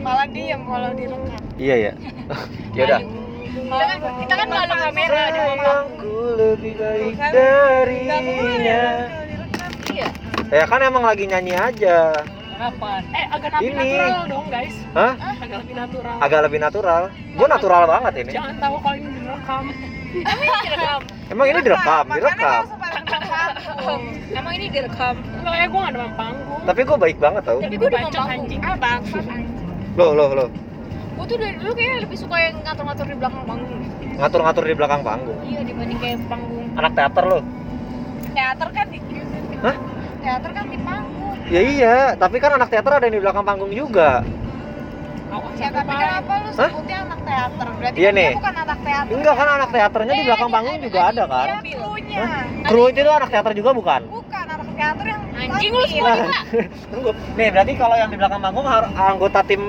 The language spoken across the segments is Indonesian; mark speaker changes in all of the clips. Speaker 1: malah diem kalau direkam
Speaker 2: Iya ya. ya udah.
Speaker 1: kita kan kita kan malu kamera di bawah
Speaker 2: Aku lebih baik
Speaker 1: Bukan. nggak boleh
Speaker 2: darinya.
Speaker 1: kalau direkam iya
Speaker 2: Ya kan emang lagi nyanyi aja.
Speaker 3: Kapan?
Speaker 1: eh agak lebih
Speaker 2: Ini.
Speaker 1: natural dong guys
Speaker 2: Hah?
Speaker 1: agak lebih natural
Speaker 2: Agak lebih natural. Gue natural banget ini.
Speaker 1: jangan tahu kalau ini direkam tapi direkam
Speaker 2: Emang ini direkam,
Speaker 4: kan
Speaker 2: direkam.
Speaker 3: Emang ini direkam?
Speaker 1: lo ya gue gak ada panggung
Speaker 2: Tapi gue baik banget tau.
Speaker 3: Tapi
Speaker 1: tapi
Speaker 3: gua
Speaker 1: gue
Speaker 3: udah
Speaker 1: dibacok
Speaker 3: ngomong.
Speaker 1: anjing ah bangsat anjing
Speaker 2: Loh, loh, loh.
Speaker 3: Gue tuh dari dulu kayaknya lebih suka yang ngatur-ngatur di belakang panggung.
Speaker 2: Ngatur-ngatur di belakang panggung.
Speaker 3: Iya dibanding kayak panggung.
Speaker 2: Anak teater loh.
Speaker 1: teater kan di
Speaker 2: Hah?
Speaker 1: teater kan di panggung
Speaker 2: Ya iya, tapi kan anak teater ada yang di belakang panggung juga.
Speaker 1: aku
Speaker 4: Ya
Speaker 1: siapa
Speaker 4: tapi kenapa lu
Speaker 2: Hah?
Speaker 4: sebutnya anak teater? Berarti
Speaker 2: Iya,
Speaker 4: kan dia
Speaker 2: nih.
Speaker 4: bukan anak teater.
Speaker 2: Enggak kan anak teaternya di belakang panggung juga ada kan?
Speaker 4: Dia krunya.
Speaker 2: Hah? Kru itu tuh anak teater juga bukan?
Speaker 4: Bukan anak teater yang
Speaker 3: Anjing
Speaker 2: Iya,
Speaker 3: lu
Speaker 4: laki.
Speaker 3: semua juga.
Speaker 2: Tunggu. Nih, berarti kalau yang di belakang panggung har- anggota tim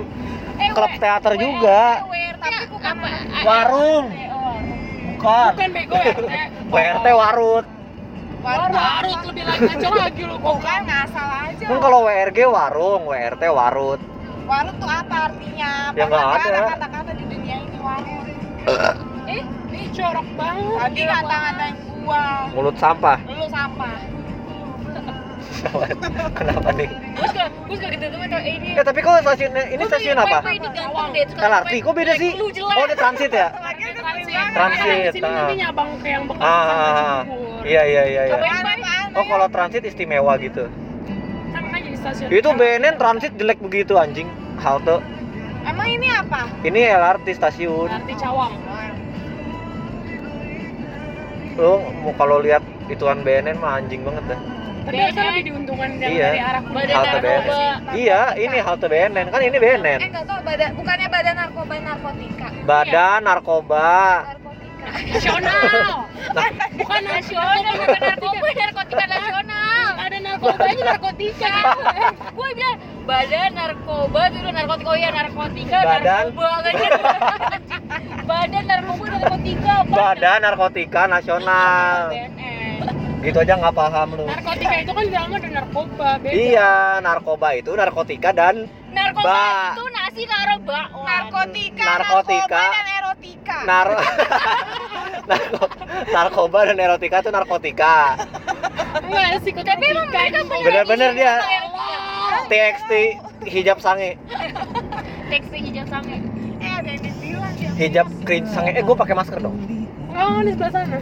Speaker 4: Eh,
Speaker 2: klub teater juga.
Speaker 4: Aware, tapi bukan
Speaker 3: Apa?
Speaker 2: Warung.
Speaker 4: Oh,
Speaker 2: Bukan.
Speaker 1: bukan bego ya
Speaker 2: WRT warut.
Speaker 1: warut warut lebih lagi ngaco lagi lu kok
Speaker 4: Bukan ngasal aja.
Speaker 2: Kan kalau WRG warung, WRT warut.
Speaker 4: Warung tuh apa artinya?
Speaker 2: Ya, nggak
Speaker 4: Apakah
Speaker 2: ada.
Speaker 4: Kata-kata di dunia ini warung.
Speaker 1: ini corok banget
Speaker 4: Tadi kata-katain gua.
Speaker 2: Mulut sampah.
Speaker 4: Lu sampah.
Speaker 2: Kenapa nih?
Speaker 3: Gue suka, gue suka gitu tuh eh ini.
Speaker 2: Ya tapi kok stasiun ini
Speaker 3: Gua tuh
Speaker 2: stasiun
Speaker 3: ini
Speaker 2: apa?
Speaker 3: Playboy, Ini ganteng deh. suka
Speaker 2: LRT,
Speaker 3: Playboy.
Speaker 2: kok beda sih?
Speaker 3: Lu jelek.
Speaker 2: Oh, di transit ya?
Speaker 4: Lagi itu
Speaker 1: Transit.
Speaker 4: kesiangan.
Speaker 2: Transit.
Speaker 1: Karena di sini
Speaker 2: ah.
Speaker 1: nanti nyabang ke yang bekas
Speaker 2: Ah,
Speaker 1: sama
Speaker 2: ah, ah.
Speaker 1: Cibubur.
Speaker 2: iya iya iya. iya.
Speaker 4: Apaan, apaan?
Speaker 2: Oh, kalau transit istimewa gitu.
Speaker 1: Kan makanya di stasiun.
Speaker 2: Itu BNN transit jelek begitu anjing. Halte.
Speaker 4: Emang ini apa?
Speaker 2: Ini LRT stasiun.
Speaker 1: Arti Cawang.
Speaker 2: Lu mau kalau lihat ituan BNN mah anjing banget dah.
Speaker 1: Tapi harusnya lebih diuntungkan yang
Speaker 2: Iya.
Speaker 1: dari arah Iya.
Speaker 3: Badan
Speaker 2: Halte
Speaker 3: narkoba.
Speaker 2: BNN. Iya, ini halte BNN. Kan ini BNN.
Speaker 4: Eh enggak tau badan bukannya badan narkoba narkotika.
Speaker 2: Badan narkoba.
Speaker 4: Narkotika.
Speaker 1: nasional.
Speaker 3: Eh,
Speaker 1: Bukan nasional, bukan narkoba.
Speaker 3: Narkoba, narkotika nasional.
Speaker 1: Ada narkobanya narkotika.
Speaker 3: Gue bilang badan narkoba itu udah narkotika. Oh iya narkotika,
Speaker 2: Badan.
Speaker 3: narkoba kan gitu. Badan narkoba narkotika. apa?
Speaker 2: Badan narkotika nasional.
Speaker 1: Iya, BNN.
Speaker 2: Gitu aja nggak paham lu.
Speaker 1: Narkotika itu kan di dalamnya ada narkoba, beda.
Speaker 2: Iya, narkoba itu narkotika dan
Speaker 3: Narkoba
Speaker 2: Ba.
Speaker 3: itu nasi karo bakwan.
Speaker 4: Narkotika,
Speaker 2: Narkotika. Nah.
Speaker 4: narkoba dan erotika.
Speaker 2: nar
Speaker 1: Iya.
Speaker 2: narko- narkoba dan erotika itu narkotika.
Speaker 1: Enggak ada psikotika. Tapi emang mereka Iya,
Speaker 2: Bener-bener dia TXT hijab sange,
Speaker 3: Teksi hijab sange.
Speaker 4: eh ada yang dibilang ya.
Speaker 2: hijab kri sange. Eh, gue pakai masker dong.
Speaker 1: Oh, di sebelah sana.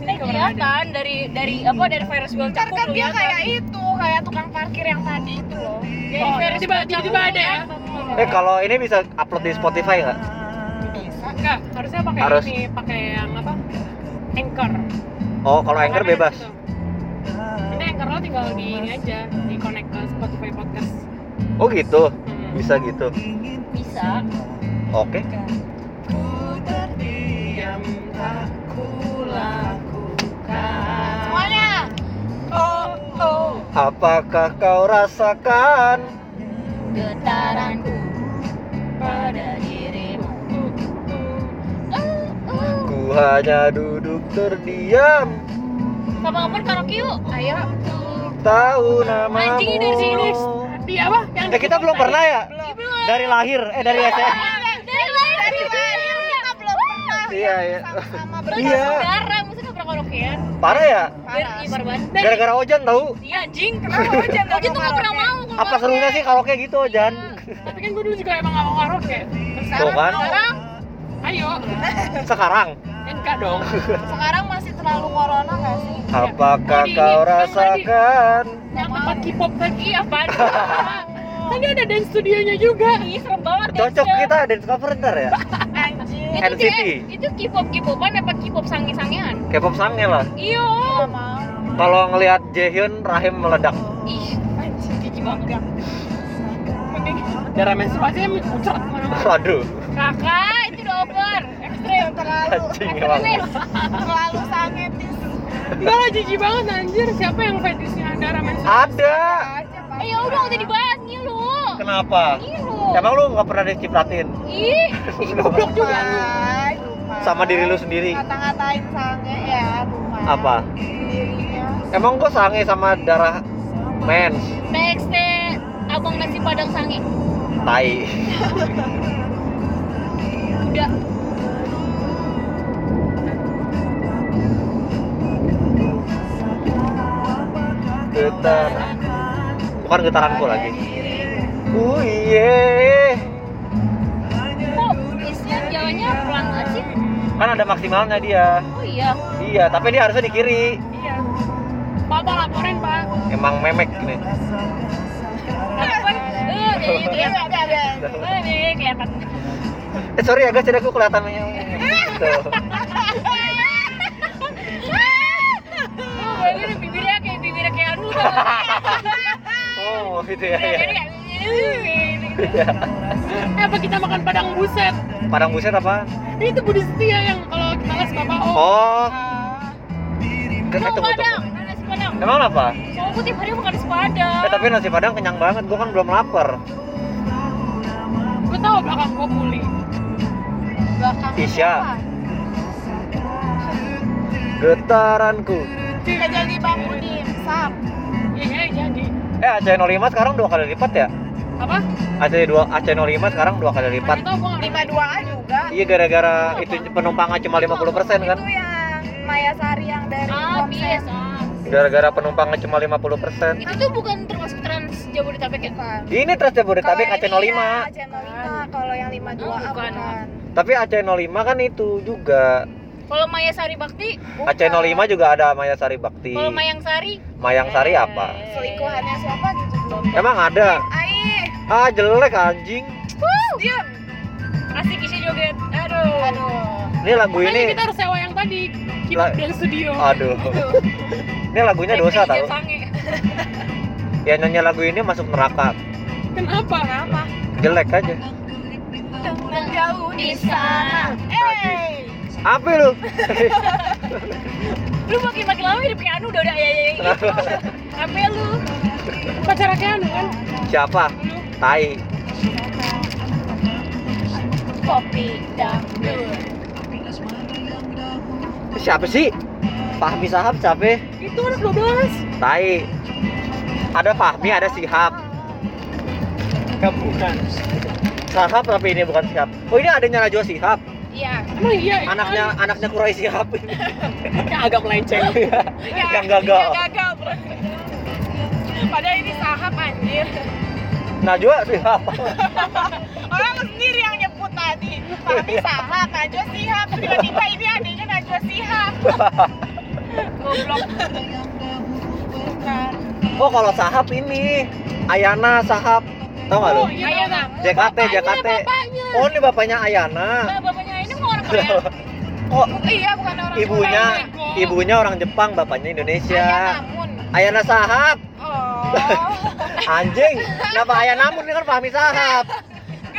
Speaker 3: Eh, kelihatan dari dari apa dari virus world
Speaker 4: Ntar kan
Speaker 3: cakup
Speaker 4: dia
Speaker 3: kelihatan.
Speaker 4: kayak itu, kayak tukang parkir yang tadi itu loh.
Speaker 3: Dari
Speaker 1: Oh,
Speaker 3: virus
Speaker 1: tiba-
Speaker 3: world cakup
Speaker 1: tiba-tiba ada ya?
Speaker 3: kelihatan.
Speaker 2: Eh, kalau ini bisa upload di Spotify nggak?
Speaker 1: Enggak, harusnya pakai
Speaker 2: Harus.
Speaker 1: ini, pakai yang apa? Anchor.
Speaker 2: Oh, kalau anchor
Speaker 1: Karena
Speaker 2: bebas.
Speaker 1: gitu. Ini anchor lo tinggal di ini aja, di connect ke Spotify podcast.
Speaker 2: Oh gitu,
Speaker 1: Hmm.
Speaker 2: bisa gitu.
Speaker 3: bisa.
Speaker 2: Oke.
Speaker 1: Diam tak kulakukan.
Speaker 4: Semuanya. Oh, oh.
Speaker 2: Apakah kau rasakan?
Speaker 3: Getaranku pada dirimu.
Speaker 2: Ku hanya duduk terdiam.
Speaker 3: Kapan-kapan karaoke yuk. Ayo.
Speaker 2: tahu namamu.
Speaker 3: Anjing ini dari sini.
Speaker 1: Di Iya, apa? Yang Iya,
Speaker 2: Eh kita belum pernah ya? Dari lahir, eh dari
Speaker 3: Iya,
Speaker 2: SMA.
Speaker 4: Dari lahir kita belum pernah
Speaker 2: Iya, iya.
Speaker 4: sama-sama
Speaker 2: Iya.
Speaker 4: berkasih.
Speaker 3: Saudara, mesti nggak pernah karaokean.
Speaker 2: Parah ya?
Speaker 3: Biar
Speaker 4: Parah.
Speaker 3: ibar banget.
Speaker 2: Gara-gara Ojan tahu?
Speaker 3: Iya anjing.
Speaker 4: Kenapa hujan
Speaker 3: Oji tuh nggak pernah mau. kalau
Speaker 2: Apa serunya sih kalau kayak gitu Ojan?
Speaker 1: Tapi kan gue dulu juga emang gak mau karaoke.
Speaker 2: Tuh kan,
Speaker 3: Sekarang
Speaker 1: Ayo, Eh,
Speaker 2: sekarang
Speaker 3: Iya.
Speaker 1: enggak dong.
Speaker 4: Sekarang masih terlalu corona gak sih?
Speaker 2: Apakah
Speaker 1: Tadi ini,
Speaker 2: kau
Speaker 1: yang tadi.
Speaker 2: rasakan?
Speaker 1: Yang tempat K-pop lagi
Speaker 3: iya apaan?
Speaker 1: Kan dia ada dance studionya juga.
Speaker 3: Ih, serem banget.
Speaker 2: Cocok
Speaker 3: Dance.
Speaker 2: kita dance cover ntar ya?
Speaker 4: Anjir.
Speaker 3: Itu
Speaker 2: NCT.
Speaker 3: dia- Itu K-pop K-popan apa K-pop sange-sangean?
Speaker 2: K-pop sange lah
Speaker 3: Iyo.
Speaker 4: Gak mau.
Speaker 2: Kalau ngelihat Jaehyun rahim meledak
Speaker 3: Ih, anjing jijik banget.
Speaker 1: Mending darah menstruasinya muncrat kemana-mana.
Speaker 2: Waduh
Speaker 3: Kakak, itu udah over. Ekstrim.
Speaker 4: Terlalu,
Speaker 2: Anjing emang
Speaker 4: terlalu sangetis.
Speaker 1: Enggak lah jijik banget anjir. Siapa yang fetishnya darah menstruasi?
Speaker 2: Ada
Speaker 4: Aja, Pak.
Speaker 3: Eh ya udah udah dibahas ngilu.
Speaker 2: Kenapa?
Speaker 3: Ngilu.
Speaker 2: Emang lu gak pernah dicipratin?
Speaker 3: Ih,
Speaker 1: Goblok juga.
Speaker 4: Lumai, lumai.
Speaker 2: Sama diri lu sendiri
Speaker 4: Kata-katain sange ya, Iya. rumah.
Speaker 2: Apa?
Speaker 4: Dirinya.
Speaker 2: Emang gua sange sama darah mens
Speaker 3: next deh abang nasi eh, padang sange.
Speaker 2: Tai.
Speaker 3: kuda
Speaker 2: Getar. Bukan getaranku lagi. Oh iya.
Speaker 3: kok bisnya jalannya pelan banget sih
Speaker 2: Kan ada maksimalnya dia.
Speaker 3: oh iya
Speaker 2: Iya, tapi dia harusnya di kiri.
Speaker 1: Iya. Papa laporin pak.
Speaker 2: Emang memek nih.
Speaker 3: kenapa eh jadi kelihatan
Speaker 4: ada ada
Speaker 3: eh jadi kelihatan
Speaker 2: Eh sorry ya guys, jadi aku kelihatannya. Tuh.
Speaker 3: oh bayangin bibirnya kayak bibirnya kayak aduh udah
Speaker 2: Oh gitu ya.
Speaker 3: Bibirnya
Speaker 2: ya.
Speaker 3: kayak, "Eh," gitu.
Speaker 2: Iya.
Speaker 1: Eh apa kita makan padang buset?
Speaker 2: Padang buset apa?
Speaker 1: Ini tuh Budi Setia yang kalau kita les bapak oh.
Speaker 2: Oh, ke, eh,
Speaker 3: Mau
Speaker 2: tunggu,
Speaker 3: padang,
Speaker 2: tunggu.
Speaker 3: nasi padang.
Speaker 2: Emang apa?
Speaker 3: Soalnya tiap hari makan nasi padang.
Speaker 2: Eh tapi nasi padang kenyang banget, gua kan belum lapar.
Speaker 1: Gue tahu belakang gue pulih.
Speaker 4: belakang
Speaker 2: Isya.
Speaker 4: apa?
Speaker 2: Getaranku.
Speaker 4: Kita jadi Bang Budi Sam
Speaker 1: Iya iya jadi.
Speaker 2: Eh AC05 sekarang dua kali lipat ya?
Speaker 1: Apa?
Speaker 2: AC2 AC05 sekarang dua kali lipat.
Speaker 1: Gak tau gue nggak
Speaker 4: lima dua juga
Speaker 2: Iya gara-gara itu penumpangnya cuma 50% kan?
Speaker 4: itu yang Maya Sari yang dari
Speaker 3: Ah,
Speaker 4: Komsel
Speaker 1: iya,
Speaker 3: bias, ah.
Speaker 2: Gara-gara penumpangnya cuma 50%.
Speaker 3: Itu tuh bukan termasuk trans Jabodetabek ya?
Speaker 4: bukan
Speaker 2: Ini Trans Jabodetabek
Speaker 4: Kalau
Speaker 2: AC05.
Speaker 4: ini ya, AC05 kalau yang 52
Speaker 3: Oh,
Speaker 4: bukan.
Speaker 3: bukan.
Speaker 4: bukan.
Speaker 2: Tapi AC05 kan itu juga.
Speaker 3: Kalau Maya Sari Bakti,
Speaker 2: AC05 juga ada Maya Sari Bakti.
Speaker 3: kalau Mayang Sari,
Speaker 2: Mayang Sari apa?
Speaker 4: Eh. Selingkuhannya siapa gitu belum.
Speaker 2: Emang ada.
Speaker 4: Aih,
Speaker 2: Ah jelek anjing.
Speaker 4: diam.
Speaker 3: Asik isi joget. Aduh.
Speaker 4: Aduh.
Speaker 2: Ini lagu
Speaker 1: Makanya
Speaker 2: ini
Speaker 1: kita harus sewa yang tadi. Kita
Speaker 2: La-
Speaker 1: dan studio.
Speaker 2: aduh. Ini lagunya dosa
Speaker 3: Kayak
Speaker 2: tau.
Speaker 3: Sange.
Speaker 2: Ya nyanyi lagu ini masuk neraka.
Speaker 1: Kenapa?
Speaker 4: Kenapa?
Speaker 2: Jelek aja.
Speaker 3: Dengan jauh di sana.
Speaker 4: Eh,
Speaker 2: Apa lu?
Speaker 3: Lu makin makin lama hidup kayak Anu udah udah ya ya ya gitu. Apa ya lu?
Speaker 1: Pacar Anu kan?
Speaker 2: Siapa?
Speaker 1: Lu.
Speaker 2: Tai.
Speaker 3: Kopi dangdut.
Speaker 2: Siapa sih? Fahmi Sahab siapa?
Speaker 1: Itu anak 12.
Speaker 2: Tai. Ada Fahmi, ada Sihab. Enggak bukan. Sahab tapi ini bukan Sihab. Oh ini adanya Najwa Sihab.
Speaker 3: Iya.
Speaker 1: Emang iya. itu
Speaker 2: Anaknya anaknya Kurai Sihab.
Speaker 1: kan? Ya, agak melenceng. Iya,
Speaker 2: Yang gagal.
Speaker 3: Iya,
Speaker 1: kan?
Speaker 3: Yang gagal. bro. Padahal ini sahab anjir.
Speaker 2: Najwa Sihab.
Speaker 4: orang sendiri yang nyebut tadi. Tapi salah Najwa Sihab. Tiba-tiba ini adanya Najwa Sihab.
Speaker 3: Goblok.
Speaker 4: Bukan.
Speaker 2: Oh kalau Sahab ini Ayana Sahab. Tahu nggak lu?
Speaker 1: Oh, iya,
Speaker 3: Ayah
Speaker 1: Bang.
Speaker 3: nang.
Speaker 2: JKT, JKT.
Speaker 1: bapaknya.
Speaker 2: Oh ini bapaknya Ayana.
Speaker 3: Bapaknya ini mau orang Korea.
Speaker 2: Oh
Speaker 4: Iya, bukan orang
Speaker 2: ibunya
Speaker 1: Korea.
Speaker 2: ibunya orang Jepang, bapaknya
Speaker 4: Ayah
Speaker 2: Indonesia.
Speaker 4: namun.
Speaker 2: Ayana Sahab.
Speaker 4: Oh.
Speaker 2: Anjing, kenapa ayah namun ini kan Fahmi Sahab?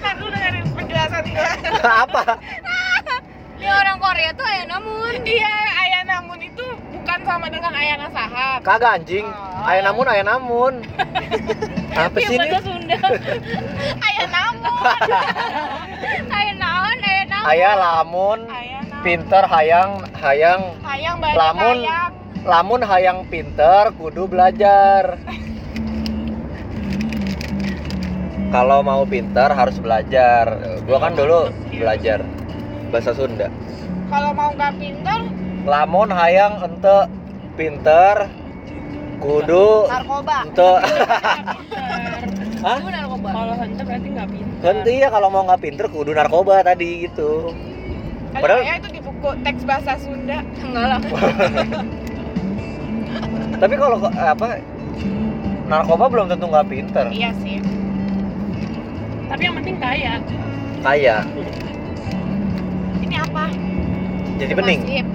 Speaker 4: Kan dulu dengerin penjelasan gue.
Speaker 2: Apa?
Speaker 3: Ini orang Korea tuh ayah namun.
Speaker 4: Iya, Ayah namun itu bukan sama dengan Ayana Sahab.
Speaker 2: Kagak anjing. Ayah namun, ayah namun. Apa
Speaker 3: Iya
Speaker 2: sih ini?
Speaker 3: bahasa Sunda.
Speaker 4: Ayah namun.
Speaker 3: Ayah naon, ayah naon.
Speaker 2: Ayah lamun,
Speaker 4: Ayah namun.
Speaker 2: pinter hayang, hayang
Speaker 4: Hayang balik
Speaker 2: Lamun.
Speaker 4: hayang.
Speaker 2: lamun hayang pinter kudu belajar. Kalau mau pinter harus belajar. Gua kan dulu belajar bahasa Sunda.
Speaker 4: Kalau mau nggak pinter,
Speaker 2: Lamun hayang ente pinter kudu
Speaker 4: narkoba.
Speaker 2: ente Hah?
Speaker 3: Lu narkoba.
Speaker 1: Kalau hantu berarti nggak pintar.
Speaker 2: Henti ya kalau mau nggak pinter kudu narkoba tadi gitu.
Speaker 4: Ada
Speaker 2: Padahal-
Speaker 4: ya itu di buku teks bahasa Sunda.
Speaker 3: Enggak lah.
Speaker 2: Tapi kalau ke- apa narkoba belum tentu nggak pinter.
Speaker 4: Iya sih.
Speaker 1: Tapi yang penting kaya.
Speaker 4: Iya.
Speaker 2: Kaya,
Speaker 4: Ini apa?
Speaker 2: jadi bening.
Speaker 4: Masjid.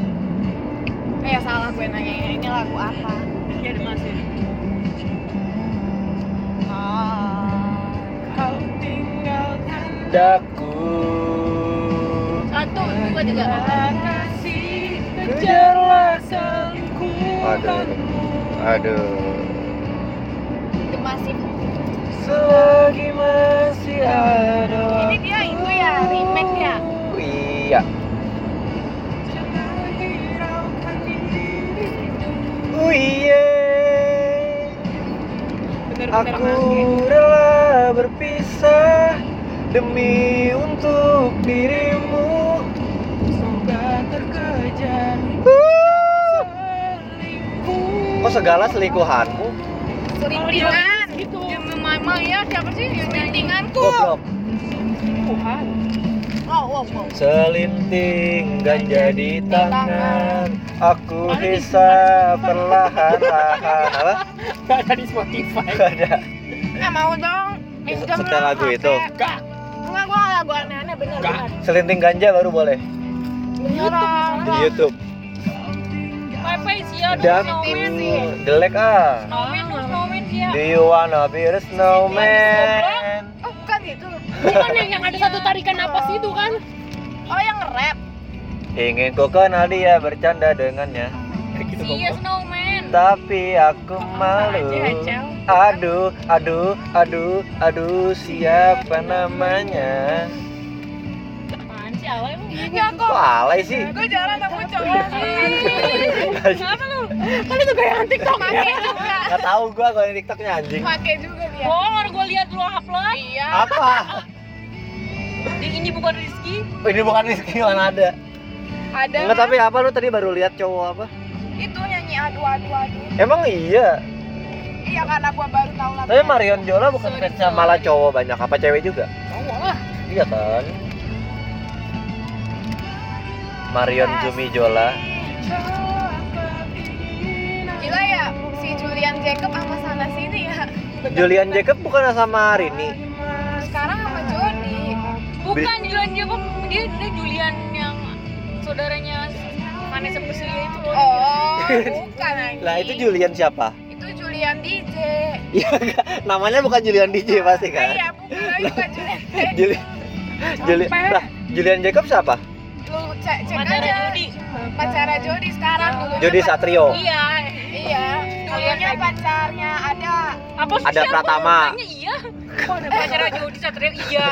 Speaker 4: Eh ya salah gue nanya ini lagu apa?
Speaker 1: Iya ada masih.
Speaker 4: Ah. Kau tinggalkan
Speaker 2: Daku
Speaker 3: Satu, dua, tiga.
Speaker 1: kasih
Speaker 2: kejarlah Aduh,
Speaker 1: selingkuh.
Speaker 2: aduh.
Speaker 4: The Massive.
Speaker 2: Selagi masih ada.
Speaker 4: Ini dia itu ya remake ya.
Speaker 2: Iya. Oh iya. Oh iya.
Speaker 4: Bener-bener
Speaker 2: Aku rela kita berpisah demi untuk dirimu
Speaker 1: Semoga terkejar selingkuh.
Speaker 2: Kok segala selingkuhanmu?
Speaker 3: Lintingan.
Speaker 1: Gitu.
Speaker 3: Demi Mama ya siapa sih yang nyanyi?
Speaker 2: Goblok
Speaker 1: Selingkuhan. Oh,
Speaker 4: Wow, wow, wow.
Speaker 2: Selinting ganja di tangan Aku bisa perlahan-lahan Apa?
Speaker 1: Gak ada di Spotify.
Speaker 2: Gak ada
Speaker 4: Eh mau dong. Minjem
Speaker 2: Ya, Setel
Speaker 4: lah
Speaker 2: lagu
Speaker 4: HP.
Speaker 2: itu.
Speaker 1: Gak.
Speaker 4: Enggak, gua nggak lagu aneh-aneh bener
Speaker 1: Gak.
Speaker 4: bener.
Speaker 2: Selinting ganja baru boleh
Speaker 4: Beneran.
Speaker 2: Di Youtube
Speaker 3: Wifi sia
Speaker 1: Ya,
Speaker 2: Dan jelek ah
Speaker 3: Snowman, dulu snowman
Speaker 1: Ya.
Speaker 3: sia.
Speaker 2: Do you wanna be a snowman?
Speaker 4: Oh, bukan gitu.
Speaker 3: kan
Speaker 1: Bukan yang, yang ada satu tarikan napas itu kan?
Speaker 4: Oh, yang rap.
Speaker 2: Ingin ku kenal dia bercanda dengannya Gitu.
Speaker 3: Sia Iya,
Speaker 1: Iya.
Speaker 3: snowman.
Speaker 2: Tapi aku
Speaker 1: Ah,
Speaker 2: malu
Speaker 1: Aja, Cel.
Speaker 2: Aduh, aduh, aduh, aduh Siapa namanya?
Speaker 3: Apaan sih awal emang gini?
Speaker 4: Enggak
Speaker 2: Kok
Speaker 4: Iya, kok.
Speaker 2: alay sih?
Speaker 4: Gua jarang nemu cowok sih.
Speaker 3: Kenapa lu?
Speaker 1: Kan itu gaya antik TikTok
Speaker 4: Pakai juga.
Speaker 2: Gak tau gua kalau di tiktoknya anjing
Speaker 4: ya. Pakai juga dia.
Speaker 3: Bolor gue lihat lu upload. Iya.
Speaker 2: Apa? Oh,
Speaker 3: Ini bukan Rizky.
Speaker 2: Ini bukan Rizky mana ada
Speaker 4: Ada
Speaker 2: Enggak tapi apa lu tadi baru lihat cowok apa?
Speaker 4: itu nyanyi aduh aduh aduh.
Speaker 2: Emang iya
Speaker 4: Iya karena gua baru tahu lagu.
Speaker 2: Tapi Marion Jola bukan
Speaker 3: Sorry,
Speaker 2: fansnya malah cowok banyak Apa cewek juga?
Speaker 1: Cowok lah.
Speaker 2: Iya kan? Marion Jumi Jola
Speaker 4: Gila ya si Julian Jacob sama sana sini ya.
Speaker 2: Julian Jacob bukan sama Rini
Speaker 4: Sekarang sama Jody.
Speaker 3: Bukan Julian dia kok dia dia Julian yang saudaranya Vanessa Priscilia itu loh.
Speaker 4: Oh, bukan anjing.
Speaker 2: Lah itu Julian siapa?
Speaker 4: Itu Julian DJ.
Speaker 2: Iya nggak? namanya bukan Julian DJ
Speaker 4: Eh,
Speaker 2: pasti kan?
Speaker 4: Iya, bukan lagi bukan Julian.
Speaker 2: Juli- Juli-
Speaker 1: Capek.
Speaker 2: lah, Julian Jacob siapa?
Speaker 3: Iya.
Speaker 4: Lu cek cek
Speaker 3: Pacarnya
Speaker 4: aja.
Speaker 3: Jody.
Speaker 4: Pacara Jody sekarang dulu.
Speaker 2: Jody Satrio.
Speaker 3: Iya.
Speaker 4: Iya, dulunya pacarnya ada.
Speaker 3: Apa sih?
Speaker 2: Ada
Speaker 3: siapa
Speaker 2: Pratama.
Speaker 3: namanya? Iya. Pacara Jody Satria iya.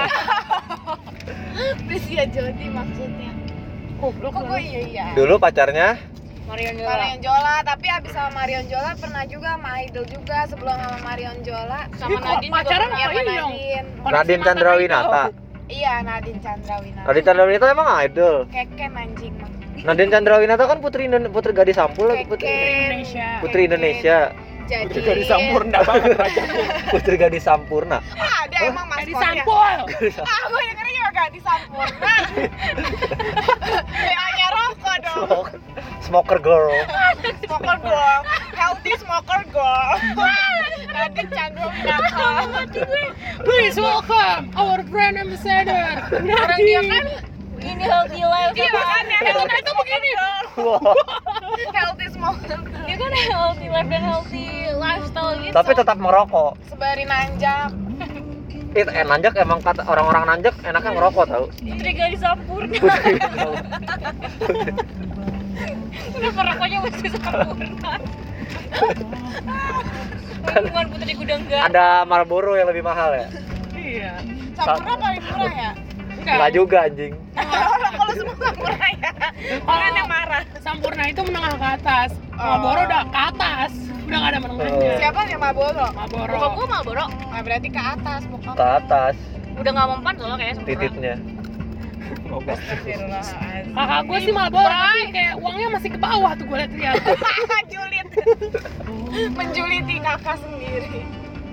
Speaker 4: Please ya Jody maksudnya.
Speaker 1: Goblok
Speaker 4: Kok
Speaker 1: lah.
Speaker 4: gue iya iya.
Speaker 2: Dulu pacarnya
Speaker 3: Marion Jola.
Speaker 4: Marion Jola, tapi abis sama Marion Jola pernah juga sama Idol juga sebelum sama Marion Jola.
Speaker 3: Sama
Speaker 1: Ih, kok
Speaker 3: Nadine juga.
Speaker 1: pacaran?
Speaker 3: pernah.
Speaker 4: Iya, sama
Speaker 1: ini dong?
Speaker 4: Nadine.
Speaker 2: Radin Chandrawinata.
Speaker 4: Iya, Nadine Chandrawinata.
Speaker 2: Radin Chandrawinata emang idol.
Speaker 4: Keken anjing mah.
Speaker 2: Nadine Chandrawinata kan putri Indone- putri gadis sampul lah, putri
Speaker 4: Keken.
Speaker 1: Indonesia.
Speaker 2: putri Indonesia,
Speaker 4: Jadi.
Speaker 1: Itu dari Sampurna banget rajanya.
Speaker 2: putri gadis sampurna.
Speaker 4: Ah, ada emang
Speaker 1: Dari
Speaker 4: maskotnya.
Speaker 1: Sampul.
Speaker 4: Ah, gue dengernya juga ganti Sampurna. BA-nya Nah. rokok dong.
Speaker 2: Smoker, smoker girl.
Speaker 4: Smoker girl. Healthy smoker Nah, girl. Nadine Chandrawinata.
Speaker 1: Please welcome our brand ambassador.
Speaker 3: Orang dia kan ini healthy life.
Speaker 4: Iya, makanya.
Speaker 3: Kan itu begini.
Speaker 2: Wow.
Speaker 4: Healthy smoker girl.
Speaker 3: Dia kan healthy life dan healthy lifestyle gitu.
Speaker 2: Tapi tetap merokok.
Speaker 4: Sebari nanjak.
Speaker 2: It, eh, nanjak emang kata orang-orang nanjak enaknya ngerokok tau.
Speaker 3: Putri Gadis Sampurna.
Speaker 2: Putri gadis sampurna.
Speaker 3: Kenapa rokoknya masih Sampurna? Hubungan Putri Gudang Gak.
Speaker 2: Ada Marlboro yang lebih mahal ya?
Speaker 1: Iya.
Speaker 4: Sampurna paling murah ya?
Speaker 2: Enggak juga anjing.
Speaker 4: Orang kalau semua sampurna ya. Orang yang marah.
Speaker 1: Sampurna itu menengah ke atas.
Speaker 4: Oh.
Speaker 1: Maboro udah ke atas. Udah gak ada menengahnya.
Speaker 2: Oh.
Speaker 4: Siapa yang Marlboro?
Speaker 1: Maboro.
Speaker 3: Bokap gue Marlboro
Speaker 4: Nah, berarti ke atas bokap.
Speaker 2: Ke atas
Speaker 3: udah gak mempan soalnya kayaknya sempurna.
Speaker 4: Iya,
Speaker 2: titiknya.
Speaker 4: Astagfirullahaladzim.
Speaker 1: Kakak gue sih Maboro tapi kayak uangnya masih ke bawah tuh gue liat-liat.
Speaker 4: Julid. Menjuliti kakak sendiri.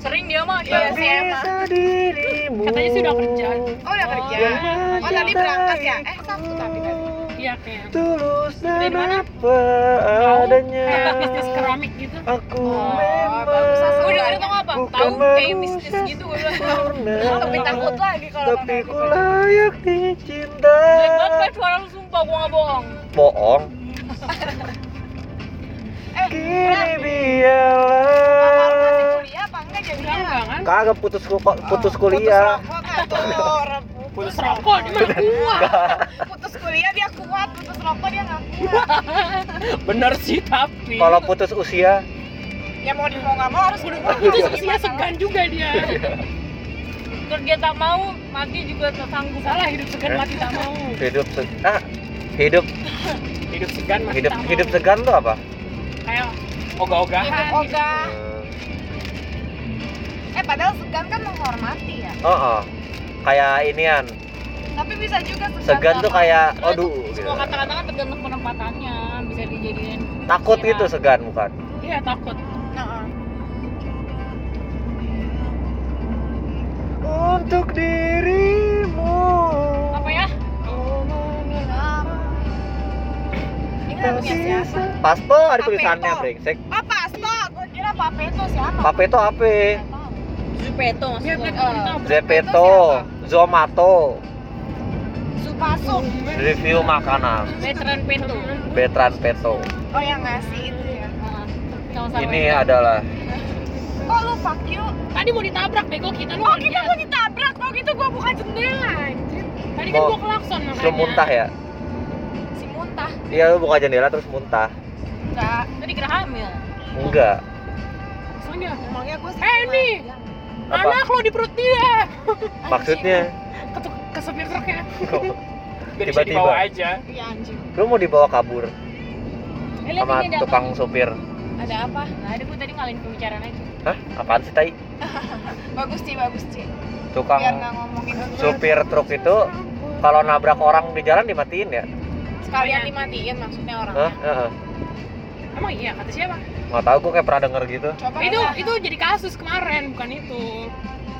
Speaker 3: Sering dia mah
Speaker 4: Iya,
Speaker 3: dia.
Speaker 4: sih, emang.
Speaker 2: dirimu.
Speaker 1: Katanya sih udah kerja.
Speaker 4: Oh, udah kerja.
Speaker 3: Iya.
Speaker 4: Oh, tadi berangkat ya? Eh, Sabtu tapi tadi.
Speaker 1: Iya kayak.
Speaker 2: Tulus
Speaker 3: Kerja
Speaker 2: dan
Speaker 3: di mana?
Speaker 2: apa
Speaker 1: Mau
Speaker 2: adanya.
Speaker 4: Eh,
Speaker 1: Kayak bisnis keramik gitu.
Speaker 2: Aku
Speaker 4: Oh,
Speaker 2: memang
Speaker 4: bagus, Sasa.
Speaker 3: Gue dengerin tau apa?
Speaker 2: Bukan
Speaker 3: Tahu
Speaker 2: manusia.
Speaker 3: kayak mistis gitu gue bilang.
Speaker 2: sempurna.
Speaker 4: Lebih takut lagi kalau
Speaker 2: Tapi
Speaker 4: kakak
Speaker 2: ku
Speaker 4: gitu.
Speaker 2: layak dicinta.
Speaker 3: Jelek banget Pat, suara lu sumpah gue gak bohong.
Speaker 2: Bohong.
Speaker 4: Eh,
Speaker 2: Kini
Speaker 4: Kakak lu masih
Speaker 2: biarlah.
Speaker 4: kuliah apa enggak
Speaker 1: Bilang
Speaker 4: jadinya?
Speaker 1: enggak kan?
Speaker 2: Kagak putus ku- putus kuliah.
Speaker 4: Ah. Putus rokok kan tuh, orang
Speaker 1: Putus rokok, dia malah kuat.
Speaker 4: Putus kuliah dia kuat, putus rokok dia nggak kuat.
Speaker 1: Bener sih tapi.
Speaker 2: Kalau putus usia,
Speaker 4: Ya mau di mau nggak mau harus kuat.
Speaker 1: itu
Speaker 4: Gimana?
Speaker 1: usia segan juga dia.
Speaker 3: Terus dia tak mau, mati juga tak sanggup.
Speaker 1: Salah hidup segan mati tak mau.
Speaker 2: hidup se- ah, hidup
Speaker 1: Hidup segan
Speaker 3: Kan
Speaker 2: hidup hidup segan tuh apa?
Speaker 1: Kayak ogah-ogahan.
Speaker 3: Ah.
Speaker 4: Hidup ogah.
Speaker 2: Eh,
Speaker 4: Eh eh padahal segan kan menghormati ya
Speaker 2: Oh, oh. kayak inian.
Speaker 4: tapi bisa juga segan,
Speaker 2: Segan tuh kayak,
Speaker 3: Karena
Speaker 2: aduh, gitu.
Speaker 3: semua kata-kata kan tergantung penempatannya bisa dijadiin
Speaker 2: takut
Speaker 3: Iya.
Speaker 2: gitu segan bukan?
Speaker 3: iya takut
Speaker 4: Nah,
Speaker 2: Untuk dirimu.
Speaker 3: apa ya
Speaker 4: ini kan lagunya siapa
Speaker 2: Pasto ada
Speaker 4: Pape
Speaker 2: tulisannya
Speaker 4: itu.
Speaker 2: brengsek.
Speaker 4: oh Pasto gue kira Pape itu siapa
Speaker 2: Pape itu apa?
Speaker 4: Nggak tahu.
Speaker 3: Zupeto maksud
Speaker 1: Zupeto.
Speaker 3: gua.
Speaker 2: Zepeto, Zomato,
Speaker 4: Supasu
Speaker 2: review makanan,
Speaker 3: veteran pintu
Speaker 2: Betran Peto.
Speaker 4: oh yang ngasih itu ya
Speaker 3: sama-sama
Speaker 2: Ini adalah
Speaker 4: kok lu fuck you
Speaker 3: tadi mau ditabrak bego kita lu
Speaker 4: oh
Speaker 3: nggak
Speaker 4: kita
Speaker 3: lihat.
Speaker 4: gue ditabrak kok gitu gue buka jendela anjir
Speaker 3: tadi kan
Speaker 2: Mau-
Speaker 3: gua klakson makanya
Speaker 2: belum muntah ya?
Speaker 4: si muntah
Speaker 2: Iya lu buka jendela terus muntah.
Speaker 4: enggak
Speaker 3: tadi kira hamil
Speaker 2: Enggak.
Speaker 3: soalnya
Speaker 4: ngomongnya gue sih
Speaker 3: Eh,
Speaker 4: cuma-
Speaker 3: ini!
Speaker 2: Apa?
Speaker 3: anak lo di perut dia
Speaker 2: Maksudnya
Speaker 3: iya. ketuk ke sopir truknya
Speaker 5: bisa
Speaker 2: Tiba-tiba.
Speaker 5: dibawa aja
Speaker 4: iya anjing
Speaker 2: lu mau dibawa kabur
Speaker 3: eh, lihat
Speaker 2: sama
Speaker 3: ini ada
Speaker 2: tukang
Speaker 3: apa?
Speaker 2: sopir.
Speaker 3: ada apa nggak ada gua tadi ngalahin pembicaraan aja
Speaker 2: Hah? Apaan sih tai?
Speaker 4: bagus sih bagus sih
Speaker 2: Tukang
Speaker 4: biar nggak ngomongin
Speaker 2: sopir truk itu kalau nabrak orang di jalan dimatiin ya?
Speaker 4: sekalian dimatiin maksudnya orangnya
Speaker 2: Hah? Heeh.
Speaker 3: emang iya kata siapa
Speaker 2: Nggak tahu gue kayak pernah denger gitu.
Speaker 4: coba
Speaker 3: itu
Speaker 4: lah.
Speaker 3: itu jadi kasus kemarin bukan itu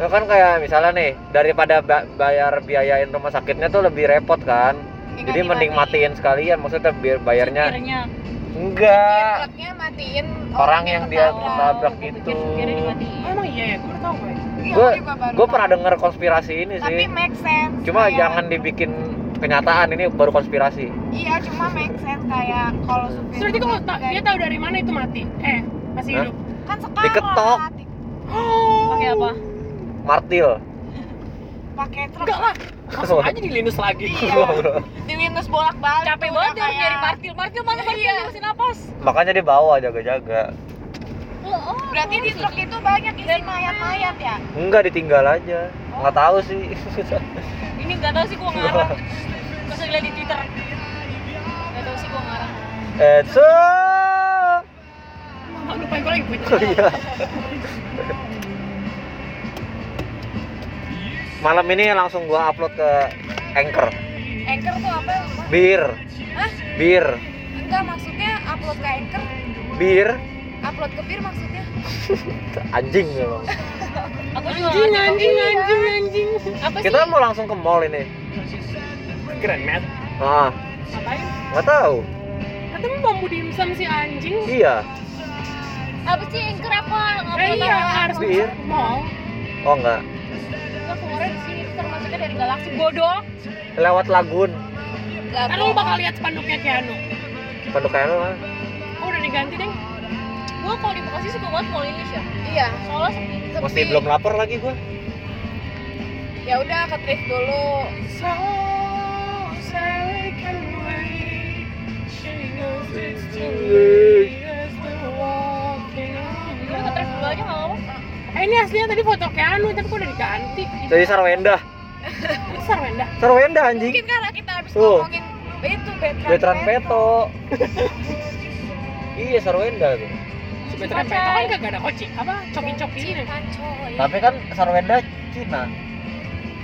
Speaker 2: Ya kan kayak misalnya nih daripada ba- bayar biayain rumah sakitnya tuh lebih repot kan.
Speaker 4: Ingat
Speaker 2: Jadi mending matiin sekalian maksudnya biar bayarnya
Speaker 3: Supirnya.
Speaker 4: Biar
Speaker 2: enggak
Speaker 4: truknya matiin
Speaker 2: orang yang dia
Speaker 4: ketabrak.
Speaker 2: tabrak
Speaker 3: Oh, Gua pikir
Speaker 2: itu.
Speaker 3: supirnya dimatiin.
Speaker 1: Oh, emang iya ya, gue udah tau gue.
Speaker 4: Iya,
Speaker 2: Gua-
Speaker 4: juga baru
Speaker 2: Gue
Speaker 4: tahu.
Speaker 2: pernah denger konspirasi ini
Speaker 4: tapi
Speaker 2: sih.
Speaker 4: make sense
Speaker 2: Cuma
Speaker 4: kayak-
Speaker 2: jangan dibikin kenyataan ini baru konspirasi.
Speaker 4: iya cuma make sense kayak kalau supir
Speaker 3: Terus itu kalau
Speaker 4: truk
Speaker 3: ta-
Speaker 4: juga- ya.
Speaker 3: dia tahu dari mana itu mati? Eh, masih
Speaker 2: Hah?
Speaker 3: hidup.
Speaker 4: kan sekarang
Speaker 2: Diketok.
Speaker 4: di-
Speaker 3: Pakai apa?
Speaker 2: Martil.
Speaker 4: pakai truk
Speaker 3: Enggak lah,
Speaker 5: masuk aja di Linus lagi
Speaker 4: iya di Windows bolak balik
Speaker 3: capek banget dia harus nyari parkir. Parkir mana parkir
Speaker 4: Iya.
Speaker 3: iya. masih napas.
Speaker 2: Makanya dia bawa jaga-jaga.
Speaker 4: berarti di truk itu banyak isi mayat-mayat ya
Speaker 2: Enggak ditinggal aja. Nggak tahu sih.
Speaker 3: Ini enggak tahu sih gua ngarang. Pas lagi liat di Twitter. Enggak tahu sih gua ngarang.
Speaker 2: Etso.
Speaker 3: Oh, lupa gua lagi punya.
Speaker 2: Iya. Malam ini langsung gua upload ke Anchor.
Speaker 4: anchor tuh apa Mbak?
Speaker 2: Bir.
Speaker 4: Hah?
Speaker 2: Bir.
Speaker 4: enggak maksudnya upload ke anchor
Speaker 2: Bir.
Speaker 4: upload ke bir maksudnya
Speaker 2: Anjing memang.
Speaker 3: Aku juga anjing anjing anjing anjing. Apa sih?
Speaker 2: Kita mau langsung ke mall ini.
Speaker 5: keren Matt
Speaker 2: Ah,
Speaker 3: Ngapain?
Speaker 2: nggak tahu.
Speaker 3: Ketemu bambu dimsum si anjing.
Speaker 2: Iya.
Speaker 3: Apa sih anchor apa? Eh,
Speaker 4: Upload
Speaker 3: iya,
Speaker 4: apa?
Speaker 3: harus
Speaker 2: Iya.
Speaker 3: mall.
Speaker 2: Oh enggak.
Speaker 3: Enggak keluar di sini termasuknya dari galaksi bodoh.
Speaker 2: Lewat lagun.
Speaker 3: Kan lu bakal lihat spanduknya Keanu.
Speaker 2: Pendukain lah.
Speaker 3: Oh, udah diganti deh. Gua kalau di Bekasi suka banget mall ini ya.
Speaker 4: iya
Speaker 3: Soalnya sepi.
Speaker 2: Masih belum lapar lagi gua.
Speaker 4: ya udah ke trip dulu
Speaker 3: Udah ke trek dulu aja nggak apa-apa. Eh ini aslinya tadi foto Keanu, tapi kok udah diganti.
Speaker 2: Jadi Sarwenda.
Speaker 3: Itu Sarwenda.
Speaker 2: Sarwenda anjing.
Speaker 4: mungkin karena kita habis
Speaker 2: Tuh.
Speaker 4: ngomongin itu veteran,
Speaker 2: Veteran Peto. iya Sarwenda tuh.
Speaker 3: Si Veteran Peto kan kagak ada kocik. Apa? Coki-coki ini.
Speaker 4: Cinta coy.
Speaker 2: Tapi kan Sarwenda Cina.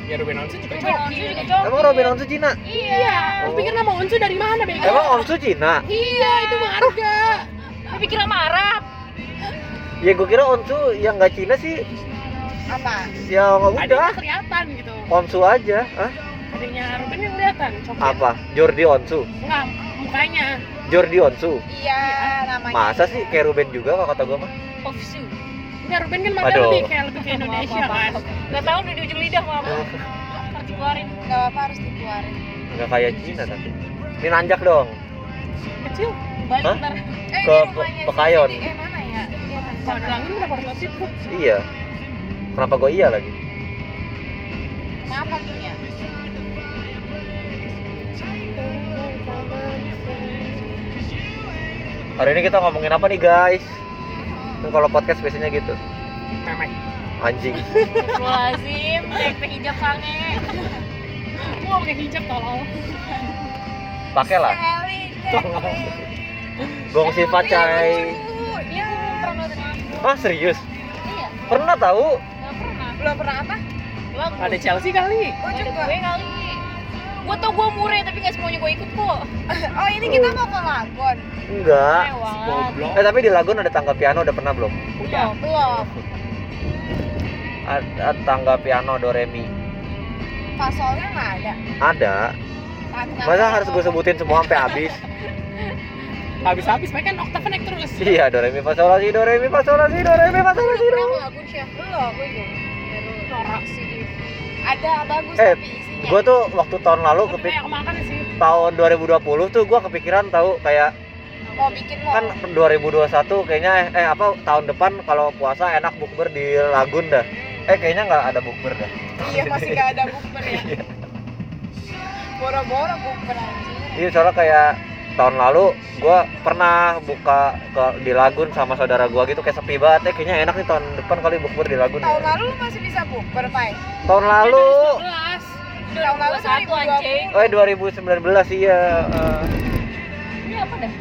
Speaker 5: ya Ruben Onsu juga
Speaker 3: Coki. Oh,
Speaker 2: Emang Robin Onsu Oh. Cina?
Speaker 3: Iya. Lu pikir nama Onsu dari mana, Bego?
Speaker 2: Emang Onsu Cina?
Speaker 3: Iya, itu mah harga. Lu pikir nama Arab?
Speaker 2: Ya gua kira Onsu yang nggak Cina sih.
Speaker 4: apa
Speaker 2: Ya nggak
Speaker 3: Adanya
Speaker 2: udah.
Speaker 3: kelihatan gitu.
Speaker 2: Onsu aja. Hah?
Speaker 3: Adanya Ruben yang kelihatan. Coki.
Speaker 2: Apa? Jordi Onsu.
Speaker 3: Enggak, mukanya.
Speaker 2: Jordi Onsu.
Speaker 4: iya namanya
Speaker 2: Masa sih kayak Ruben juga kalau kata gua mah?
Speaker 3: Ofsu. Enggak, Ruben kan mata
Speaker 2: Waduh.
Speaker 3: lebih kayak lebih ke Indonesia kan. Enggak tahu udah di ujung lidah mau apa. Harus dikeluarin.
Speaker 4: nggak apa harus dikeluarin
Speaker 2: Nggak kayak Cina tapi. Ini nanjak dong.
Speaker 3: Kecil. Balik
Speaker 2: Hah?
Speaker 3: ntar.
Speaker 4: eh, ini
Speaker 2: Ke Pe-
Speaker 4: rumahnya sih,
Speaker 2: Pekayon.
Speaker 4: jadi- eh mana ya iya kan
Speaker 3: Kalau dilangin berapa ratus ribu?
Speaker 2: Iya. Kenapa gua iya lagi?
Speaker 4: kenapa gini ya
Speaker 2: Hari ini kita ngomongin apa nih guys? Kan kalau podcast biasanya gitu.
Speaker 5: memek
Speaker 2: Anjing.
Speaker 3: Lazim, cek teh hijab sange. Gua nggak pakai hijab tolol.
Speaker 2: Pakailah.
Speaker 4: Sekali,
Speaker 2: Gong si
Speaker 4: Sekali.
Speaker 2: pacai.
Speaker 4: Lucu. Iya, belum pernah dengar.
Speaker 2: Ah serius?
Speaker 3: Iya.
Speaker 2: Pernah tahu?
Speaker 3: Nggak belum pernah apa? Belum.
Speaker 5: Ada Chelsea kali.
Speaker 4: Gue
Speaker 3: Ada
Speaker 4: juga.
Speaker 3: gue kali. Gue tau gue mure tapi gak semuanya gue ikut kok.
Speaker 4: Oh ini kita mau ke Lagon.
Speaker 2: Enggak.
Speaker 3: Lewat.
Speaker 5: Goblok.
Speaker 2: Eh tapi di Lagun ada tangga piano udah pernah belum?
Speaker 5: Udah.
Speaker 4: Belum.
Speaker 2: Ada tangga piano Doremi.
Speaker 4: Pasolnya nggak ada.
Speaker 2: Ada. Masa harus gue sebutin semua sampai habis?
Speaker 5: Habis-habis, mereka kan Octave naik terus.
Speaker 2: Iya, Doremi Fasolasi, Doremi Fasolasi, Doremi Fasolasi.
Speaker 3: Pernah ke lagu
Speaker 4: ya?
Speaker 3: Syah?
Speaker 4: Belum.
Speaker 3: Gue juga. Baru
Speaker 5: Norak.
Speaker 3: sih.
Speaker 4: Ada bagus
Speaker 2: Eh,
Speaker 4: tapi isinya.
Speaker 2: Gue tuh waktu tahun lalu
Speaker 5: Tapi
Speaker 2: kepik
Speaker 5: kayak makan sih.
Speaker 2: tahun 2020 tuh gue kepikiran tahu kayak
Speaker 4: Mau bikin mau.
Speaker 2: kan 2021 kayaknya eh, eh, apa tahun depan kalau puasa enak bukber di Lagun dah. Eh kayaknya nggak ada bukber dah.
Speaker 4: Iya masih gak ada bukber
Speaker 2: Iya.
Speaker 4: ya. Boro-boro bukber anjir.
Speaker 2: Iya soalnya kayak tahun lalu gue pernah buka ke, di Lagun sama saudara gue gitu kayak sepi banget. Eh kayaknya enak nih tahun depan kali bukber di Lagun.
Speaker 4: Tahun
Speaker 2: ya.
Speaker 4: lalu lu masih bisa bukber, Pai.
Speaker 2: Tahun lalu,
Speaker 4: Tahun lalu
Speaker 3: 2021 anjing.
Speaker 2: eh 2019 iya. eh.
Speaker 3: Ini apa dah?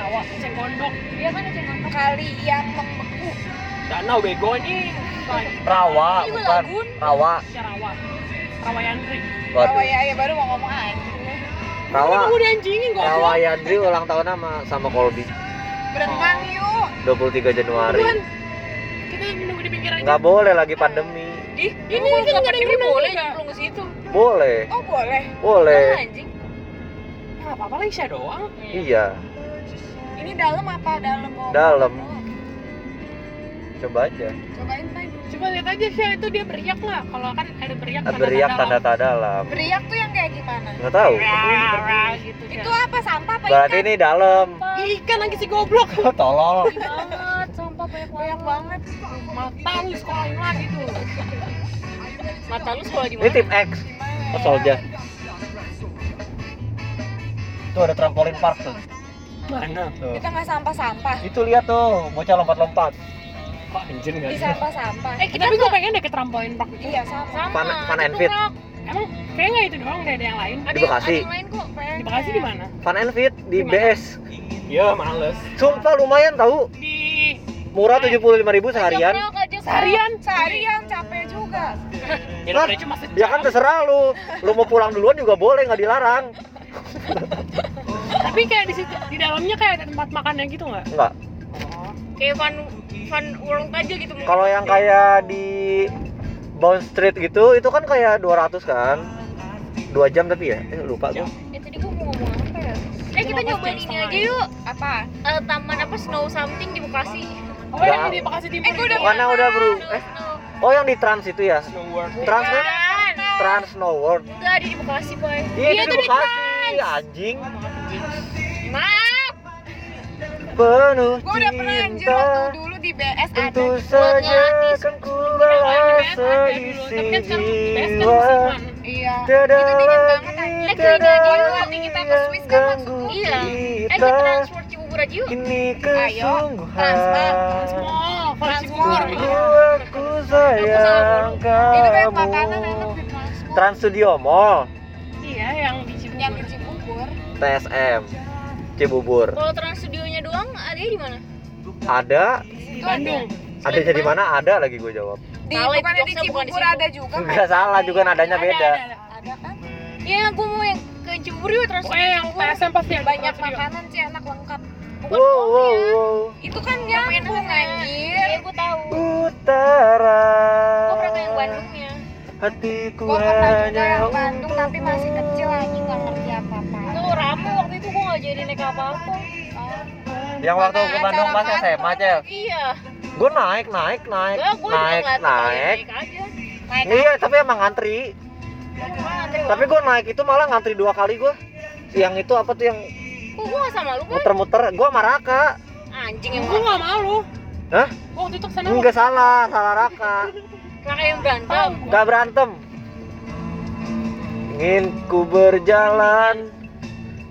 Speaker 5: Bawa ceng gondok.
Speaker 3: Dia kan ada cengkok.
Speaker 4: Kali yang membeku.
Speaker 5: Danau bego ini.
Speaker 2: Rawa
Speaker 3: Ini
Speaker 2: bukan
Speaker 3: Lagun.
Speaker 2: Rawa.
Speaker 5: Rawa. Rawa Yandri.
Speaker 4: Bahwa
Speaker 2: Waduh.
Speaker 4: ya, ya baru mau ngomong aja.
Speaker 2: Rawa.
Speaker 5: Kamu udah anjingin
Speaker 2: Rawa
Speaker 5: goblok.
Speaker 2: Yandri ulang tahun sama sama Kolbi
Speaker 4: Berenang
Speaker 2: Oh.
Speaker 4: yuk.
Speaker 2: 23 Januari.
Speaker 5: Buruan. Kita nunggu di pinggir aja.
Speaker 2: Nggak boleh lagi pandemi.
Speaker 3: Ih,
Speaker 5: ini kan nggak ada yang berenang
Speaker 3: boleh
Speaker 5: juga.
Speaker 3: nyemplung ke situ.
Speaker 2: Boleh,
Speaker 4: Oh boleh.
Speaker 3: Sama
Speaker 2: boleh.
Speaker 3: anjing.
Speaker 5: Nggak apa-apa lah Isya doang.
Speaker 2: Iya,
Speaker 4: Ini dalam apa dalam? Oh,
Speaker 2: Dalam. coba aja.
Speaker 4: Cobain Pai.
Speaker 5: Coba lihat aja Isya itu dia beriak lah. Kalau kan ada beriak.
Speaker 2: Beriak tanda-tanda dalam.
Speaker 4: Beriak tuh yang kayak gimana?
Speaker 2: Nggak tahu.
Speaker 5: Berbunyi, gitu.
Speaker 4: Itu apa sampah apa
Speaker 2: Berarti
Speaker 4: ikan?
Speaker 2: ini dalam. Oh,
Speaker 5: Ih, Ikan lagi si goblok.
Speaker 2: Tolol.
Speaker 3: Banget, sampah banyak
Speaker 4: Banyak banget.
Speaker 3: banget.
Speaker 5: Mata lu sekolahin lagi tuh.
Speaker 3: Mata lu sekolah di
Speaker 2: Ini
Speaker 3: mana?
Speaker 2: tim X. Oh, Asal aja. Tuh ada trampolin park tuh.
Speaker 5: Mana?
Speaker 2: Tuh.
Speaker 4: Kita nggak sampah-sampah.
Speaker 2: Itu lihat tuh, bocah lompat-lompat.
Speaker 5: Kok anjir nggak
Speaker 4: Di
Speaker 5: ada?
Speaker 4: sampah-sampah.
Speaker 5: Eh, tapi gue pengen deh ke trampolin park itu.
Speaker 4: Iya sama.
Speaker 3: Sama.
Speaker 2: Fun, fun and
Speaker 3: itu
Speaker 2: fit.
Speaker 3: rock.
Speaker 5: Emang kayaknya nggak itu doang deh ada yang lain.
Speaker 3: Ada
Speaker 2: Di
Speaker 3: yang-
Speaker 2: Bekasi.
Speaker 3: Ada yang lain kok.
Speaker 5: Di Bekasi di mana?
Speaker 2: Fun and fit di
Speaker 5: Gimana?
Speaker 2: BS. Iya,
Speaker 5: Ya males.
Speaker 2: Sumpah lumayan tahu.
Speaker 5: Di
Speaker 2: Murah 75.000 seharian.
Speaker 3: Seharian.
Speaker 5: seharian.
Speaker 4: Seharian capek juga.
Speaker 5: Ya
Speaker 2: Hah?
Speaker 5: udah cuma sejam.
Speaker 2: Ya kan terserah lu. Lu mau pulang duluan juga boleh, nggak dilarang.
Speaker 5: Tapi kayak di situ di dalamnya kayak ada tempat makannya gitu nggak?
Speaker 2: Enggak.
Speaker 3: Kayak fun fun world aja gitu.
Speaker 2: Kalau yang kayak di Bound Street gitu, itu kan kayak 200 kan? Dua jam tapi ya? Eh, lupa gua.
Speaker 3: Eh tadi gue mau ngomong apa ya? Eh
Speaker 5: Cuma
Speaker 3: kita nyobain
Speaker 5: pas jam
Speaker 3: ini
Speaker 5: setengah.
Speaker 3: aja yuk.
Speaker 4: Apa?
Speaker 3: Eh, taman apa snow something di Bekasi.
Speaker 5: Oh yang
Speaker 2: Nggak.
Speaker 5: di Bekasi Timur.
Speaker 4: Eh, gua udah
Speaker 5: itu.
Speaker 2: Bukannya udah bro? Eh,
Speaker 3: Snow.
Speaker 2: oh yang di Trans itu ya?
Speaker 5: Snow World.
Speaker 2: Trans kan?
Speaker 3: Kan.
Speaker 2: Trans Snow World.
Speaker 3: Enggak ada di Bekasi, Boy.
Speaker 2: Iya, itu di
Speaker 3: Bekasi.
Speaker 2: Bekasi, anjing.
Speaker 3: Maaf.
Speaker 2: Penuh
Speaker 4: Gue udah pernah anjir
Speaker 2: cinta,
Speaker 4: waktu dulu di BS ada.
Speaker 2: tentu saja
Speaker 3: ngelatih.
Speaker 2: kan ku
Speaker 5: Ada di BS
Speaker 2: rasa
Speaker 5: ada
Speaker 2: di
Speaker 5: dulu. Tapi kan sekarang di BS kan
Speaker 2: jiwa.
Speaker 5: musiman.
Speaker 4: Iya.
Speaker 2: Tiada
Speaker 4: Itu dingin banget
Speaker 2: lagi,
Speaker 4: anjir.
Speaker 3: Eh, kering aja
Speaker 2: tiada
Speaker 3: yuk,
Speaker 4: nanti kita ke
Speaker 2: yang
Speaker 4: Swiss kan masuk.
Speaker 2: ganggu
Speaker 3: Iya. Eh ke
Speaker 2: kita.
Speaker 3: transport Cibubur aja yuk.
Speaker 2: Ini
Speaker 4: Ayo, transfer,
Speaker 2: kesungguhan
Speaker 5: Small, Oh, kalau
Speaker 4: Trans
Speaker 5: Cibubur.
Speaker 4: World.
Speaker 5: iya.
Speaker 2: Aku sayang
Speaker 4: Itu kayak makanan
Speaker 2: kamu
Speaker 4: enak di transport.
Speaker 2: Trans Studio Mall
Speaker 5: Iya, yang di Cibubur.
Speaker 4: Yang di Cibubur.
Speaker 2: TSM Cibubur
Speaker 3: Kalau trans studionya doang ada di mana?
Speaker 2: Ada
Speaker 5: Di Bandung.
Speaker 2: Ada jadi mana ada lagi gue jawab
Speaker 4: Di
Speaker 3: Salah, itu
Speaker 4: bukannya di
Speaker 3: jokesnya bukan di
Speaker 4: Cibubur
Speaker 3: situ.
Speaker 4: ada juga. kan?
Speaker 2: Enggak salah juga nadanya
Speaker 5: Ada,
Speaker 2: beda
Speaker 5: ada, ada.
Speaker 4: Ada kan?
Speaker 3: Iya, gue mau yang ke Cibubur yuk trans.
Speaker 5: Pokoknya yang PSM kan pasti ada
Speaker 4: Banyak
Speaker 5: Trans Studio.
Speaker 4: makanan sih enak lengkap.
Speaker 2: Wow wow wow
Speaker 4: Itu kan nyambung
Speaker 3: Iya,
Speaker 4: anjir.
Speaker 3: gue tahu.
Speaker 2: Utara
Speaker 3: Gue pernah ke yang Bandungnya.
Speaker 2: Hatiku
Speaker 4: Gue pernah juga
Speaker 2: hanya
Speaker 4: yang Bandung tapi masih
Speaker 2: untukmu.
Speaker 4: kecil lagi nggak ngerti apa-apa.
Speaker 3: Itu rame waktu itu gue gak jadi naik apa-apa.
Speaker 2: Yang waktu ke
Speaker 4: Mana
Speaker 2: Bandung
Speaker 4: acara
Speaker 2: pas SMA Cel
Speaker 3: Iya.
Speaker 2: Gue naik naik naik
Speaker 3: Enggak, gue udah
Speaker 2: Naik
Speaker 3: ngeliat
Speaker 2: naik
Speaker 3: naik aja.
Speaker 2: Iya, tapi emang ngantri. Tapi gue naik itu malah ngantri dua kali gue. Yang itu apa tuh yang
Speaker 3: Kok gue gak sama lu, Boy?
Speaker 2: muter-muter? Gue sama Raka.
Speaker 3: Anjing yang
Speaker 5: Gue nggak malu.
Speaker 2: Hah?
Speaker 5: Gua Waktu itu kesana
Speaker 2: Enggak salah, salah Raka.
Speaker 3: kakak yang
Speaker 5: tahu.
Speaker 3: berantem.
Speaker 5: gua.
Speaker 2: Gak berantem. Ingin ku berjalan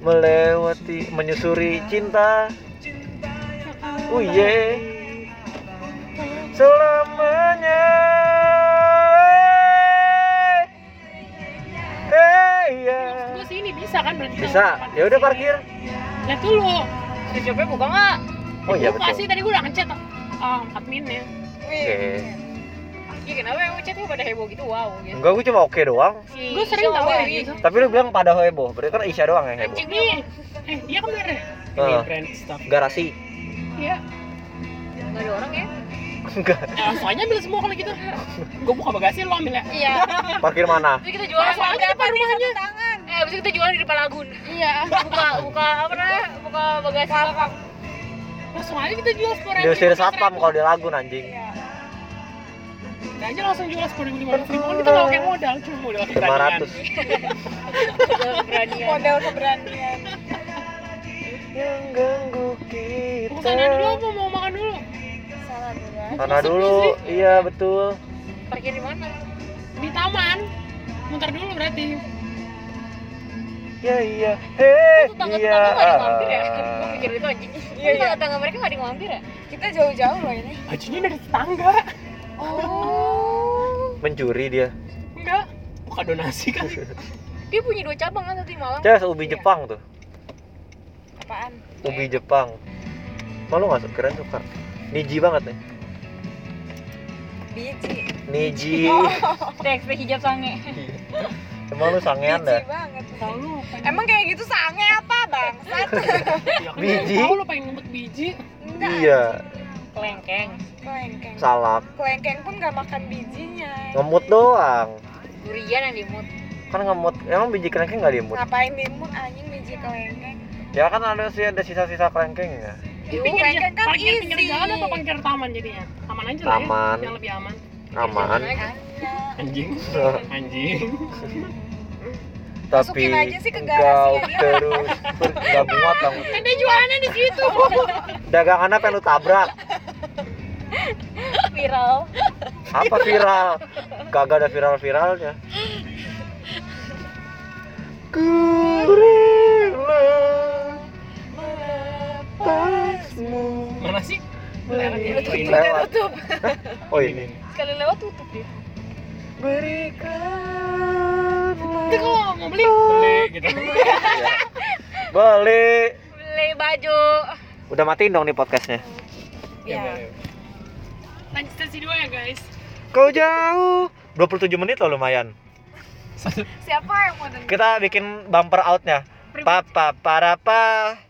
Speaker 2: melewati menyusuri cinta. Oh yeah. Selamanya. Hey, yeah.
Speaker 5: Gue sini bisa kan berarti.
Speaker 2: Eh, iya. Bisa. Ya udah parkir.
Speaker 5: Ya tuh lu.
Speaker 3: Si Jopnya buka nggak?
Speaker 2: Oh iya
Speaker 5: Gua kasih
Speaker 2: betul.
Speaker 5: tadi gue udah ngechat. Ah, adminnya.
Speaker 4: Wih.
Speaker 2: Oke.
Speaker 3: Iya, kenapa emang? WeChat tuh pada heboh gitu wow gitu
Speaker 2: Enggak, gue cuma oke doang.
Speaker 3: si
Speaker 5: Gue sering tau ya
Speaker 3: gitu
Speaker 5: gitu.
Speaker 2: Tapi lu bilang pada heboh, berarti kan Isya doang yang heboh.
Speaker 3: anjing nih
Speaker 5: Eh, dia kemana?
Speaker 2: Nah,
Speaker 6: brand stuff
Speaker 2: garasi.
Speaker 5: Iya.
Speaker 3: nggak ada orang ya
Speaker 2: Enggak,
Speaker 5: Ya, langsung aja ambil semua kalau gitu. Gue buka bagasi lo ambil ya.
Speaker 3: iya
Speaker 2: parkir mana?
Speaker 3: terus kita jualan
Speaker 5: Langsung aja depan rumahnya.
Speaker 3: eh abis itu kita jualan di depan lagun
Speaker 5: Iya.
Speaker 3: buka buka apa namanya buka bagasi belakang
Speaker 5: Langsung aja kita jual sepuluh ribu.
Speaker 2: Diusir satpam kalau di lagun anjing.
Speaker 4: Iya.
Speaker 5: aja langsung jual sepuluh ribu lima ratus ribu. Kan Kita nggak pakai modal, cuma modal keberanian.
Speaker 2: 500.
Speaker 3: Jualan keberanian
Speaker 4: model keberanian
Speaker 2: Yang ganggu
Speaker 5: Mau
Speaker 2: kita.
Speaker 5: sana dulu apa mau makan dulu?
Speaker 4: salah ya. dulu
Speaker 2: Sana dulu, iya betul.
Speaker 3: parkir di mana
Speaker 5: Di taman. Muter dulu berarti.
Speaker 2: Iya iya. Hei,
Speaker 3: Itu tangga
Speaker 2: iya.
Speaker 3: tetangga nggak ada yang mampir ya gue mikir itu anjing
Speaker 4: Iya,
Speaker 3: iya
Speaker 4: iya.
Speaker 3: tangga mereka nggak ada yang mampir ya
Speaker 4: kita jauh-jauh loh ini
Speaker 5: Bajunya dari tetangga.
Speaker 3: oh
Speaker 2: Mencuri dia.
Speaker 5: Enggak. Buka donasi kan.
Speaker 3: dia punya dua cabang kan satu di Malang
Speaker 2: Cez ubi Jepang tuh.
Speaker 4: apaan
Speaker 2: Ubi
Speaker 3: Iya.
Speaker 2: Jepang. Malu nggak suka? Keren suka. Niji banget nih.
Speaker 4: biji
Speaker 2: Niji.
Speaker 3: Oh. Dex, teh hijab sange
Speaker 2: Emang lu sangean
Speaker 4: biji
Speaker 2: ya? dah.
Speaker 4: banget
Speaker 5: Tahu lu. pengen-
Speaker 4: emang kayak gitu sange apa bang
Speaker 5: Ya kan,
Speaker 2: Biji.
Speaker 5: Tahu lu pengen ngumpet biji.
Speaker 4: enggak
Speaker 2: Iya,
Speaker 3: kelengkeng
Speaker 4: kelengkeng
Speaker 2: salak.
Speaker 4: kelengkeng pun gak makan bijinya
Speaker 2: Ngemut doang.
Speaker 3: durian yang dimut
Speaker 2: Kan ngemut. Emang biji kelengkeng nggak dimut?
Speaker 4: ngapain timun anjing biji kelengkeng
Speaker 2: Ya kan ada sih ada sisa-sisa kelengkeng
Speaker 3: Iya,
Speaker 2: ya.
Speaker 5: Di
Speaker 4: Yuh,
Speaker 5: pinggir,
Speaker 4: kelengkeng kan
Speaker 5: parkir pinggir
Speaker 4: easy.
Speaker 5: jalan apa parkir taman jadinya? Taman aja lah ya.
Speaker 2: Taman.
Speaker 5: Yang lebih aman.
Speaker 2: Aman.
Speaker 6: anjing anjing
Speaker 2: Tapi
Speaker 4: Masukin aja sih ke
Speaker 2: kau
Speaker 4: garasinya dia.
Speaker 2: terus ber- nggak muat kamu.
Speaker 5: Ada jualannya di situ.
Speaker 2: Dagangan apa yang lu tabrak?
Speaker 3: viral
Speaker 2: Apa viral? Kagak ada viral-viralnya. Ku rela melepasmu.
Speaker 6: mana sih
Speaker 2: Lewat. Oh ini.
Speaker 3: sekali lewat tutup dia
Speaker 5: Itu
Speaker 2: Berikanlah
Speaker 5: kalau mau beli
Speaker 6: beli gitu
Speaker 2: Beli
Speaker 3: beli baju
Speaker 2: Udah matiin dong nih podcastnya
Speaker 5: Iya,
Speaker 6: ya
Speaker 4: ya
Speaker 6: boleh.
Speaker 5: lanjut sesi dua ya guys.
Speaker 2: Kau jauh 27 menit loh lumayan
Speaker 4: siapa yang mau dengar
Speaker 2: Kita bikin bumper outnya Pa pa para pa